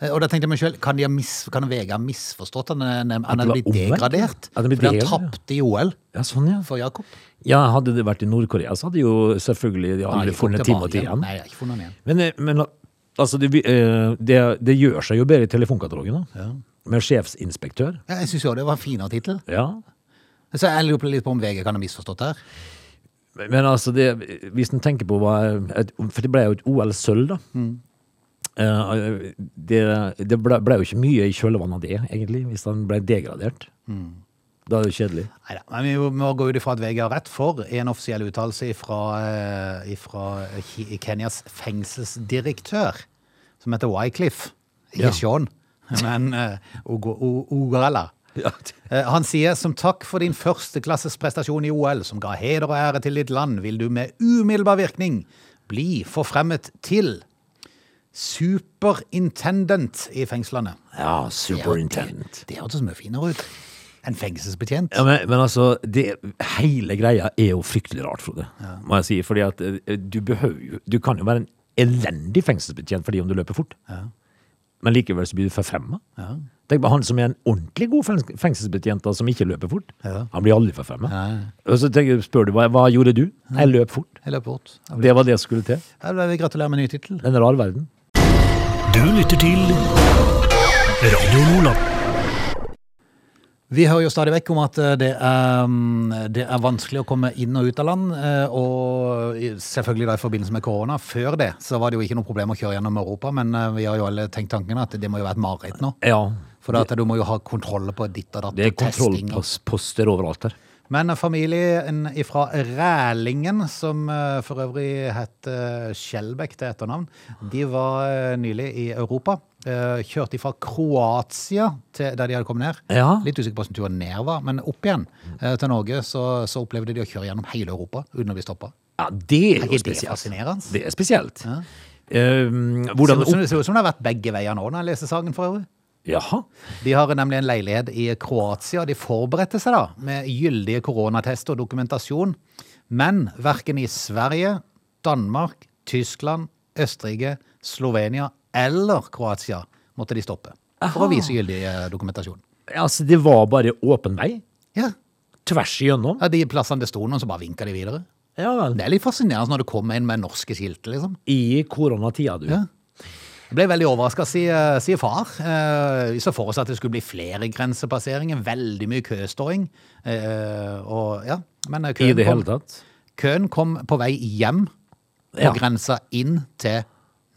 [SPEAKER 1] Eh, Og da tenkte jeg meg selv, kan, de ha mis, kan Vegard ha misforstått at han er- han
[SPEAKER 3] det
[SPEAKER 1] er
[SPEAKER 3] var
[SPEAKER 1] blitt
[SPEAKER 3] omvendt, ja.
[SPEAKER 1] degradert?
[SPEAKER 3] At han er blitt
[SPEAKER 1] Fordi han
[SPEAKER 3] degradert, ja.
[SPEAKER 1] tapte i OL
[SPEAKER 3] Ja, sånn, ja.
[SPEAKER 1] for Jakob.
[SPEAKER 3] Ja, Hadde det vært i Nord-Korea, så hadde jo selvfølgelig de
[SPEAKER 1] Nei,
[SPEAKER 3] aldri
[SPEAKER 1] ikke
[SPEAKER 3] funnet
[SPEAKER 1] tilbake
[SPEAKER 3] Timothy igjen.
[SPEAKER 1] Nei, jeg har ikke funnet han igjen.
[SPEAKER 3] Men, eh, men altså, det, vi- eh, det, det gjør seg jo bedre i telefonkatalogen, da. Med sjefsinspektør.
[SPEAKER 1] Ja, Jeg syns jo det var en finere tittel.
[SPEAKER 3] Ja.
[SPEAKER 1] Så jeg lurer på litt på om VG kan ha misforstått det her.
[SPEAKER 3] Men, men altså, det, hvis en tenker på hva et, For det ble jo et OL-sølv, da. Eh, det det ble, ble jo ikke mye i kjølvannet av det, egentlig, hvis han ble degradert. Da er det jo kjedelig.
[SPEAKER 1] Neida, men vi må gå ut ifra at VG har rett, for en offisiell uttalelse fra Kenyas fengselsdirektør, som heter Wycliffe, ikke
[SPEAKER 3] Ja.
[SPEAKER 1] Sean, men eh, Ogo- O- Ogarella.
[SPEAKER 3] Ja.
[SPEAKER 1] Eh, Han sier som takk for din førsteklasses prestasjon i OL, som ga heder og ære til ditt land, vil du med umiddelbar virkning bli forfremmet til superintendent i fengslene.
[SPEAKER 3] Ja, superintendent.
[SPEAKER 1] Det hørtes mye finere ut enn fengselsbetjent.
[SPEAKER 3] Ja, men, men altså, det, hele greia er jo fryktelig rart, Frode. Må jeg si, fordi at eh, du behøver jo Du kan jo være en elendig fengselsbetjent fordi om du løper fort. Men likevel så blir du forfremma. Tenk på han som er en ordentlig god fengs- fengselsbetjent da, som ikke løper fort.
[SPEAKER 1] Ja.
[SPEAKER 3] Han blir aldri forfremma. Og så tenker, spør du hva, hva gjorde du? Jeg løp fort.
[SPEAKER 1] Jeg løper bort. Ja,
[SPEAKER 3] Det var det jeg skulle til.
[SPEAKER 1] da vil jeg Gratulerer med ny tittel.
[SPEAKER 3] Det er En rar verden.
[SPEAKER 2] Du lytter til Radio Lola.
[SPEAKER 1] Vi hører jo stadig vekk om at eh, det er, mm, det er vanskelig å komme inn og ut av land, eh, og i- selvfølgelig da i forbindelse med korona. Før det så var det jo ikke noe problem å kjøre gjennom Europa, men eh, vi har jo alle tenkt tanken at det må jo være et mareritt nå.
[SPEAKER 3] Ja.
[SPEAKER 1] For det at du må jo ha kontroll på ditt og datt.
[SPEAKER 3] Det er
[SPEAKER 1] og testing og-
[SPEAKER 3] kontrollposter overalt her.
[SPEAKER 1] Men en familie fra Rælingen, som eh, for øvrig het eh, Skjelbæk til etternavn, de var eh, nylig i Europa. Eh, Kjørte fra Kroatia til der de hadde kommet ned.
[SPEAKER 3] Ja.
[SPEAKER 1] Litt usikker på hvordan turen ned var, men opp igjen eh, til Norge. Så, så opplevde de å kjøre gjennom hele Europa uten å bli stoppa.
[SPEAKER 3] Ja, det er
[SPEAKER 1] Er
[SPEAKER 3] jo
[SPEAKER 1] ikke det
[SPEAKER 3] spesielt.
[SPEAKER 1] fascinerende?
[SPEAKER 3] Det er spesielt. Ehm,
[SPEAKER 1] Ser
[SPEAKER 3] hvordan
[SPEAKER 1] ut som- ser ut som det har vært begge veier nå når jeg leser saken for øvrig.
[SPEAKER 3] Jaha.
[SPEAKER 1] De har nemlig en leilighet i Kroatia. De forberedte seg da med gyldige koronatester og dokumentasjon. Men verken i Sverige, Danmark, Tyskland, Østerrike, Slovenia eller Kroatia måtte de stoppe for å vise gyldig eh, dokumentasjon.
[SPEAKER 3] Altså, det var bare åpen vei.
[SPEAKER 1] Ja,
[SPEAKER 3] Tvers igjennom.
[SPEAKER 1] Av De plassene det sto noen, så bare vinka de videre.
[SPEAKER 3] Ja vel.
[SPEAKER 1] Det er litt fascinerende når det kommer inn med norske skilt, liksom.
[SPEAKER 3] I koronatida, du.
[SPEAKER 1] Ja. Jeg ble veldig overraska, sier sier far. Eh, Vi så for oss at det skulle bli flere grensepasseringer, veldig mye køståing. Eh, og, ja. Men eh,
[SPEAKER 3] I
[SPEAKER 1] køen
[SPEAKER 3] det
[SPEAKER 1] kom,
[SPEAKER 3] hele tatt.
[SPEAKER 1] køen kom på vei hjem, på
[SPEAKER 3] Ja.
[SPEAKER 1] grensa inn til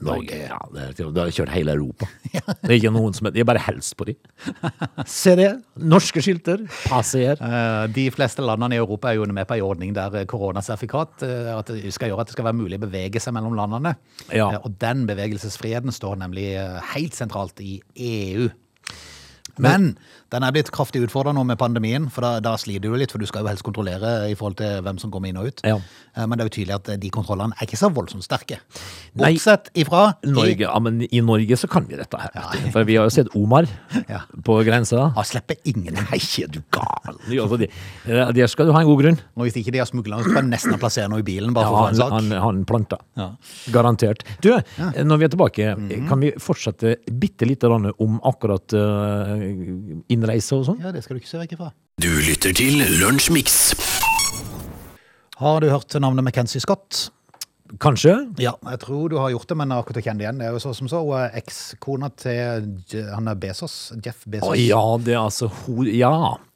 [SPEAKER 1] Norge.
[SPEAKER 3] Ja, det er- det har kjørt hele Europa. Det er ikke noen som De er bare helst på de. Se det. Norske skilter. Passer.
[SPEAKER 1] Eh, De fleste landene i Europa er jo med på en ordning der eh, koronasertifikat eh, at det skal gjøre at det skal være mulig å bevege seg mellom landene.
[SPEAKER 3] Ja.
[SPEAKER 1] Eh, Og den bevegelsesfriheten står nemlig eh, helt sentralt i EU. Men
[SPEAKER 3] Men-
[SPEAKER 1] den er blitt kraftig utfordra nå med pandemien, for da, da sliter du jo litt, for du skal jo helst kontrollere i forhold til hvem som kommer inn og ut.
[SPEAKER 3] Ja.
[SPEAKER 1] Eh, Men det er jo tydelig at eh, de kontrollene er ikke så voldsomt sterke.
[SPEAKER 3] Nei.
[SPEAKER 1] Bortsett ifra i-
[SPEAKER 3] Norge, ja, men I Norge så kan vi dette her.
[SPEAKER 1] Ja.
[SPEAKER 3] vet du. For vi har jo sett Omar
[SPEAKER 1] Ja.
[SPEAKER 3] på grensa.
[SPEAKER 1] Han slipper ingen.
[SPEAKER 3] Nei, er du gal! Ja, altså, de- eh, Der skal du ha en god grunn.
[SPEAKER 1] Og hvis ikke de har smugla, så kan de nesten ha plassert noe i bilen. bare for å
[SPEAKER 3] Ja,
[SPEAKER 1] få en sak.
[SPEAKER 3] han, han, han planta.
[SPEAKER 1] Ja.
[SPEAKER 3] Garantert. Du, når vi er tilbake, kan vi fortsette bitte lite grann om akkurat eh, innreise og sånn?
[SPEAKER 1] Ja, det skal du ikke se vekk ifra.
[SPEAKER 2] Du lytter til Lunsjmix.
[SPEAKER 1] Har du hørt navnet Mackenzie Scott?
[SPEAKER 3] Kanskje?
[SPEAKER 1] Ja, jeg tror du har gjort det, men jeg har akkurat kjent det igjen. Det er jo så som så. Hun er ekskona til Je- han er Bezos, Jeff
[SPEAKER 3] Å
[SPEAKER 1] Bezos.
[SPEAKER 3] ja, det er altså ho... Ja.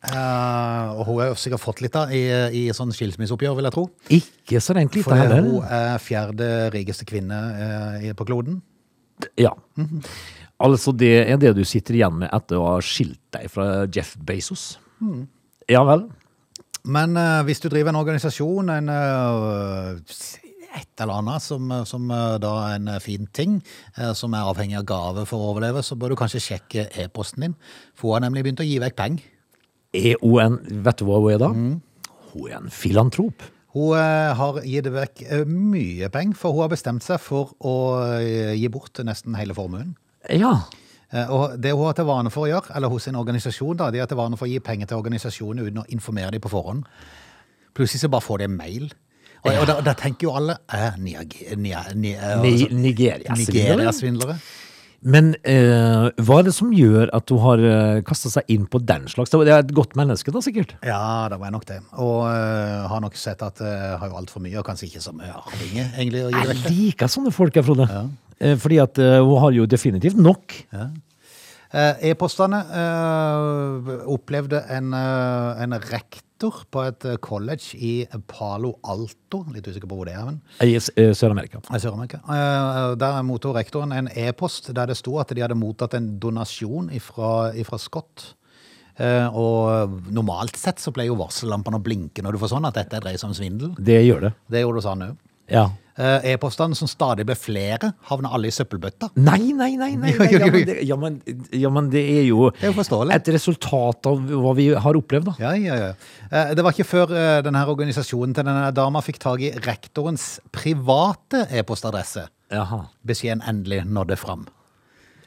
[SPEAKER 1] Eh, og hun har jo sikkert fått litt da, i, i sånn skilsmisseoppgjør, vil jeg tro.
[SPEAKER 3] Ikke så rent lite
[SPEAKER 1] For
[SPEAKER 3] heller.
[SPEAKER 1] hun er fjerde rikeste kvinne eh, i- på kloden.
[SPEAKER 3] Ja. Altså, det er det du sitter igjen med etter å ha skilt deg fra Jeff Bezos. Ja vel.
[SPEAKER 1] Men eh, hvis du driver en organisasjon, en, eh, et eller annet som, som eh, da er en fin ting, eh, som er avhengig av gave for å overleve, så bør du kanskje sjekke e-posten din. For hun har nemlig begynt å gi vekk penger.
[SPEAKER 3] Er hun en E Vet du hva hun er da? Hun er en filantrop.
[SPEAKER 1] Hun eh, har gitt vekk eh, mye penger, for hun har bestemt seg for å eh, gi bort nesten hele formuen.
[SPEAKER 3] Ja.
[SPEAKER 1] Eh, Og det hun har til vane for å gjøre, eller hos sin organisasjon, da, de har til vane for å gi penger til organisasjonen uten å informere dem på forhånd. Plutselig så bare får de en mail. Og, og da, da tenker jo alle eh, Niage- Nia- Ni- eh,
[SPEAKER 3] Ni-
[SPEAKER 1] altså,
[SPEAKER 3] Nigeria-svindlere.
[SPEAKER 1] Nigeria-svindlere.
[SPEAKER 3] Men eh, hva er det som gjør at du har uh, kasta seg inn på den slags? Det er et godt menneske, da, sikkert.
[SPEAKER 1] Ja, det var nok det. Og eh, har nok sett at jeg har jo altfor mye, og kanskje ikke så mye arvinger, egentlig, å gi
[SPEAKER 3] Jeg
[SPEAKER 1] vekk.
[SPEAKER 3] liker sånne folk, jeg, Frode. Eh, Fordi at eh, hun har jo definitivt nok.
[SPEAKER 1] Eh, E-postene eh, opplevde en, eh, en rektor på et eh, college i Palo Alto, litt usikker på hvor det er, men
[SPEAKER 3] i S- eh, Sør-Amerika.
[SPEAKER 1] i Sør-Amerika. Eh, der mottok rektoren en e-post der det sto at de hadde mottatt en donasjon ifra, ifra Scott. Eh, og normalt sett så pleier jo varsellampene å blinke når du får sånn at dette dreier seg om svindel.
[SPEAKER 3] Det gjør det.
[SPEAKER 1] Det gjorde du sånn òg.
[SPEAKER 3] Ja.
[SPEAKER 1] Eh, E-postene som stadig ble flere, havna alle i søppelbøtta.
[SPEAKER 3] Nei, nei, nei! nei, nei. Ja, men, det, ja, men, ja, men det er jo
[SPEAKER 1] Det er jo forståelig.
[SPEAKER 3] et resultat av hva vi har opplevd, da.
[SPEAKER 1] Ja, ja, ja. Eh, Det var ikke før eh, denne her organisasjonen til denne dama fikk tag i rektorens private e-postadresse.
[SPEAKER 3] Jaha.
[SPEAKER 1] Beskjeden endelig nådde fram.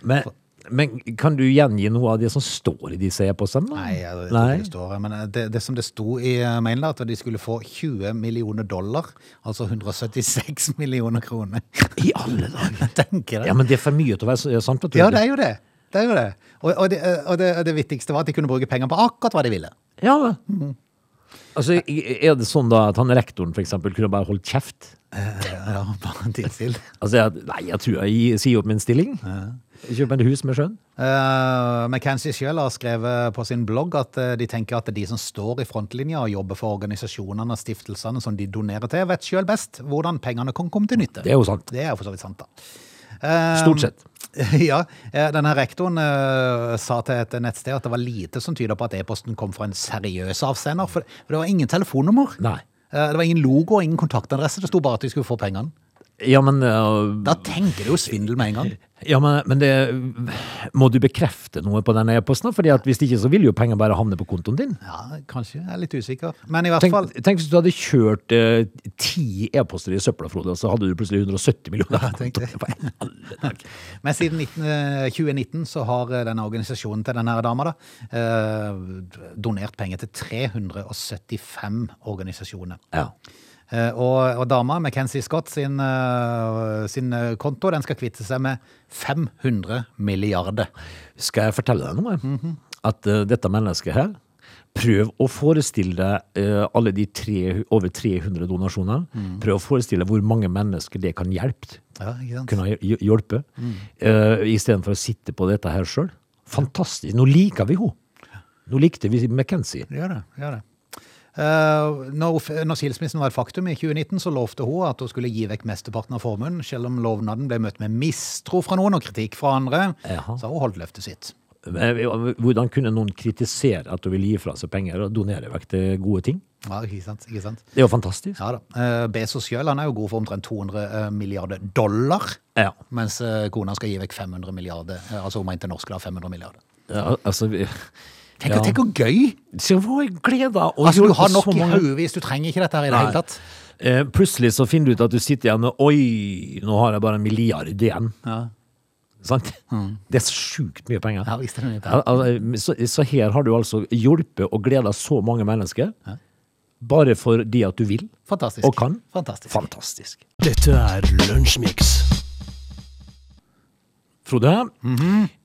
[SPEAKER 3] Men, men kan du gjengi noe av det som står i disse e-postene? da?
[SPEAKER 1] Nei, jeg, jeg tror ikke det står her, men eh, det, det som det sto i eh, mailen, da, at de skulle få 20 millioner dollar, altså 176 millioner kroner.
[SPEAKER 3] I alle dager!
[SPEAKER 1] Jeg tenker det.
[SPEAKER 3] Ja, men det er for mye til å være s- sant, vet du.
[SPEAKER 1] Ja, det er jo det. Det er jo det. Og, og, det, eh, og det, og det viktigste var at de kunne bruke penger på akkurat hva de ville.
[SPEAKER 3] Ja,
[SPEAKER 1] Mm.
[SPEAKER 3] men. Altså, er det sånn da at han rektoren for eksempel kunne bare holdt kjeft?
[SPEAKER 1] Eh, Ja, bare tilstill.
[SPEAKER 3] Altså, jeg, nei, jeg tror jeg sier opp min stilling. Kjøper meg et hus med sjøen.
[SPEAKER 1] Uh, McKenzie selv har skrevet på sin blogg at eh, de tenker at de som står i frontlinja og jobber for organisasjonene og stiftelsene som de donerer til, vet selv best hvordan pengene kan komme til nytte.
[SPEAKER 3] Det er jo sant.
[SPEAKER 1] Det er jo for så vidt sant, da. Eh,
[SPEAKER 3] Stort sett.
[SPEAKER 1] ja. eh, Denne rektoren eh, sa til et nettsted at det var lite som tyder på at e-posten kom fra en seriøs avsender, for for det var ingen telefonnummer.
[SPEAKER 3] Nei.
[SPEAKER 1] Eh, det var ingen logo og ingen kontaktadresse. Det sto bare at de skulle få pengene.
[SPEAKER 3] Ja, men, øh,
[SPEAKER 1] Da tenker du jo svindel med en gang.
[SPEAKER 3] ja, men, men det, må du bekrefte noe på den e-posten? da? Fordi at hvis ikke så vil jo penger bare havne på kontoen din.
[SPEAKER 1] Ja, kanskje. Jeg er litt usikker. Men i hvert
[SPEAKER 3] Tenk,
[SPEAKER 1] fall
[SPEAKER 3] tenk hvis du hadde kjørt eh, ti e-poster i søpla, Frode, og så hadde du plutselig 170 millioner.
[SPEAKER 1] Ja, tenk det.
[SPEAKER 3] på kontoen. Alle dager.
[SPEAKER 1] Men siden 19, eh, 2019 så har eh, denne organisasjonen til denne dama da, eh, donert penger til 375 organisasjoner.
[SPEAKER 3] Ja.
[SPEAKER 1] Eh, og, og dama, McKenzie Scott, sin, eh, sin eh, konto, den skal kvitte seg med 500 milliarder.
[SPEAKER 3] Skal jeg fortelle deg noe? At eh, dette mennesket her Prøv å forestille deg eh, alle de tre, over 300 donasjonene. Prøv å forestille deg hvor mange mennesker det kan hjelpe.
[SPEAKER 1] Ja, ikke sant?
[SPEAKER 3] Kunne hj- hj- hjelpe. eh, i stedet Istedenfor å sitte på dette her sjøl. Fantastisk. Nå liker vi henne. Nå likte vi McKenzie.
[SPEAKER 1] Gjør det, gjør det. Eh, når, f- når skilsmissen var et faktum i 2019, så lovte hun at hun skulle gi vekk mesteparten av formuen, selv om lovnaden ble møtt med mistro fra noen og kritikk fra andre.
[SPEAKER 3] Jaha.
[SPEAKER 1] Så har hun holdt løftet sitt.
[SPEAKER 3] Eh, Hvordan kunne noen kritisere at du vil gi fra seg penger og donere vekk til gode ting?
[SPEAKER 1] Ja, ikke sant, ikke sant?
[SPEAKER 3] Det er jo fantastisk.
[SPEAKER 1] Ja da. Eh, Bezos sjøl er jo god for omtrent 200 milliarder dollar.
[SPEAKER 3] Ja.
[SPEAKER 1] Mens eh, kona skal gi vekk 500 milliarder. eh, Altså hun mente norske da, 500 milliarder.
[SPEAKER 3] Ja, altså vi-
[SPEAKER 1] Tenk,
[SPEAKER 3] ja.
[SPEAKER 1] tenk hvor gøy!
[SPEAKER 3] Se hvor glede av å
[SPEAKER 1] Altså,
[SPEAKER 3] hjelpe
[SPEAKER 1] du har
[SPEAKER 3] så
[SPEAKER 1] nok i
[SPEAKER 3] mange-
[SPEAKER 1] haugevis, du trenger ikke dette her i det
[SPEAKER 3] Nei.
[SPEAKER 1] hele tatt.
[SPEAKER 3] Eh, plutselig så finner du ut at du sitter igjen med Oi, nå har jeg bare en milliard igjen. Sant? Det er så sjukt mye penger.
[SPEAKER 1] Ja, visst er det mye penger.
[SPEAKER 3] Ja, al- så, så her har du altså hjulpet og gleda så mange mennesker. Bare for de at du vil
[SPEAKER 1] Fantastisk.
[SPEAKER 3] og kan.
[SPEAKER 1] Fantastisk.
[SPEAKER 3] Fantastisk.
[SPEAKER 2] Dette er Lunsjmix.
[SPEAKER 3] Frode,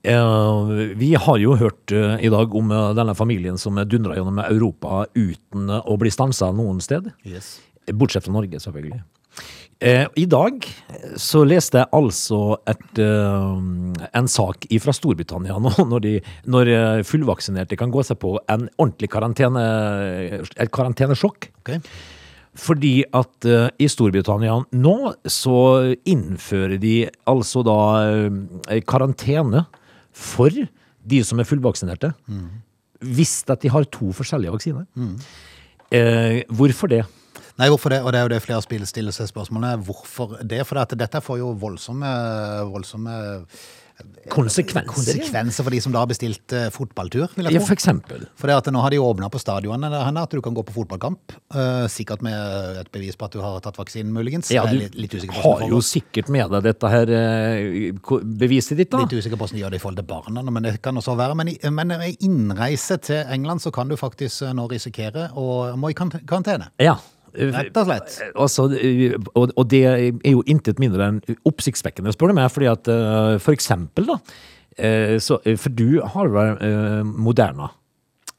[SPEAKER 3] eh, vi har jo hørt eh, i dag om eh, denne familien som dundra gjennom Europa uten eh, å bli stansa noen sted.
[SPEAKER 1] Yes.
[SPEAKER 3] Bortsett fra Norge, selvfølgelig. Eh, I dag så leste jeg altså et, eh, en sak fra Storbritannia nå, når, de, når eh, fullvaksinerte kan gå seg på en ordentlig karantene, et karantenesjokk.
[SPEAKER 1] Ok.
[SPEAKER 3] Fordi at eh, i Storbritannia nå så innfører de altså da eh, karantene for de som er fullvaksinerte. Hvis at de har to forskjellige vaksiner. Eh, hvorfor det?
[SPEAKER 1] Nei, hvorfor det? Og det er jo det flere spill stiller seg spørsmålet. Hvorfor det? For at dette får jo voldsomme, voldsomme
[SPEAKER 3] Konsekvenser?
[SPEAKER 1] konsekvenser for de som da har bestilt eh, fotballtur, vil jeg
[SPEAKER 3] Ja,
[SPEAKER 1] tro.
[SPEAKER 3] for eksempel.
[SPEAKER 1] For det at nå har de åpna på stadionene der henne, at du kan gå på fotballkamp. eh, sikkert med et bevis på at du har tatt vaksinen, muligens.
[SPEAKER 3] Ja,
[SPEAKER 1] Jeg
[SPEAKER 3] du
[SPEAKER 1] er litt, litt usikker på
[SPEAKER 3] har
[SPEAKER 1] hvordan
[SPEAKER 3] jo
[SPEAKER 1] folk-
[SPEAKER 3] sikkert med deg dette her eh, ko- beviset ditt, da.
[SPEAKER 1] Litt usikker på hvordan de gjør det i forhold til barna, men det kan også være. Men, i- men i innreise til England så kan du faktisk eh, nå risikere å må i kant- karantene.
[SPEAKER 3] Ja.
[SPEAKER 1] Rett og slett.
[SPEAKER 3] Altså, og, og det er jo intet mindre enn oppsiktsvekkende, spør du meg. Fordi at eh, for eksempel, da eh, så, For du har vel eh, Moderna.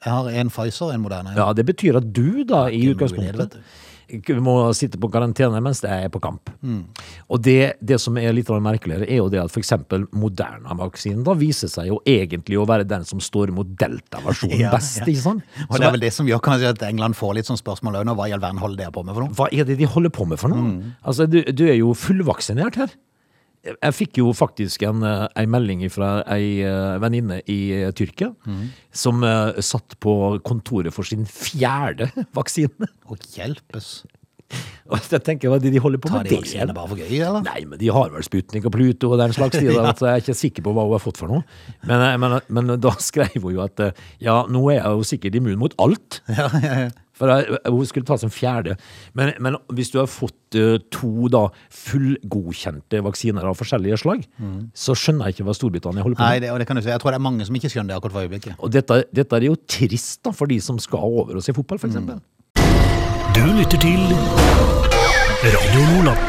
[SPEAKER 1] Jeg har en Pfizer, en Moderna.
[SPEAKER 3] Ja, Det betyr at du, da,
[SPEAKER 1] Ikke noe
[SPEAKER 3] i
[SPEAKER 1] idé, vet
[SPEAKER 3] utgangspunktet ikke må sitte på karantene mens det er på kamp.
[SPEAKER 1] Mm.
[SPEAKER 3] Og det, det som er litt av det merkeligere, er jo det at f.eks. Moderna-vaksinen da viser seg jo egentlig å være den som står mot delta-versjonen
[SPEAKER 1] Ja,
[SPEAKER 3] best.
[SPEAKER 1] ja.
[SPEAKER 3] ikke sant?
[SPEAKER 1] Og
[SPEAKER 3] Så
[SPEAKER 1] det er vel det som gjør kanskje at England får litt sånn spørsmål òg nå. Hva i all verden holder dere på med for noe?
[SPEAKER 3] hva er det de holder på med for noe?
[SPEAKER 1] Mm.
[SPEAKER 3] Altså, du, du er jo fullvaksinert her. Jeg jeg fikk jo faktisk en, eh, ei melding fra ei eh, venninne i eh, Tyrkia
[SPEAKER 1] Mm.
[SPEAKER 3] som eh, satt på kontoret for sin fjerde vaksine.
[SPEAKER 1] Å hjelpes.
[SPEAKER 3] Og jeg tenker, hva er det de holder på
[SPEAKER 1] Tar de
[SPEAKER 3] med? det?
[SPEAKER 1] vaksine bare for gøy, eller?
[SPEAKER 3] Nei, men de har vel Sputnik og Pluto og den slags tid, da, så jeg er ikke sikker på hva hun har fått for noe. Men, eh, men, men da skrev hun jo at eh, ja, nå er jeg jo sikkert immun mot alt. For jeg, hun skulle ta sin fjerde. Men, men hvis du har fått eh, to da fullgodkjente vaksiner av forskjellige slag, så skjønner jeg ikke hva Storbritannia holder på
[SPEAKER 1] Nei,
[SPEAKER 3] med.
[SPEAKER 1] det, og det kan du si. Jeg tror det er mange som ikke skjønner det akkurat for øyeblikket.
[SPEAKER 3] Og dette, dette er jo trist da, for de som skal over og se fotball, for eksempel.
[SPEAKER 2] Du lytter til Radio Nordland.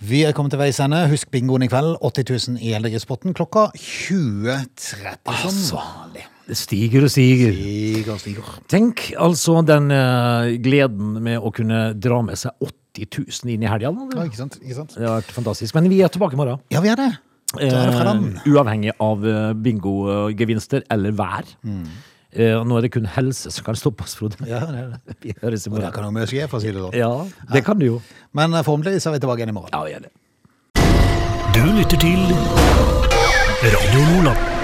[SPEAKER 1] Vi er kommet til veis ende. Husk bingoen i kveld. 80 000 i Eldringspotten klokka 20.30.
[SPEAKER 3] Altså.
[SPEAKER 1] Som vanlig.
[SPEAKER 3] Det stiger og stiger.
[SPEAKER 1] Stiger, stiger.
[SPEAKER 3] Tenk altså den eh, gleden med å kunne dra med seg 80 000 inn i helga.
[SPEAKER 1] Ja,
[SPEAKER 3] da.
[SPEAKER 1] ikke sant? Ikke sant?
[SPEAKER 3] Det har vært fantastisk. Men vi er tilbake i morgen.
[SPEAKER 1] Ja, vi er det. Da er det fredag.
[SPEAKER 3] Eh, uavhengig av eh, bingogevinster eller vær. Eh, og nå er det kun helse som kan stoppe oss, Frode.
[SPEAKER 1] Mm. Ja, det er det.
[SPEAKER 3] Vi høres i
[SPEAKER 1] Og der
[SPEAKER 3] morgen.
[SPEAKER 1] kan jo mye skje, for å si det sånn.
[SPEAKER 3] Ja, det kan du jo.
[SPEAKER 1] Men eh, forhåpentligvis er vi tilbake igjen i morgen.
[SPEAKER 3] Ja, vi gjør det.
[SPEAKER 2] Du lytter til Radio Nordland.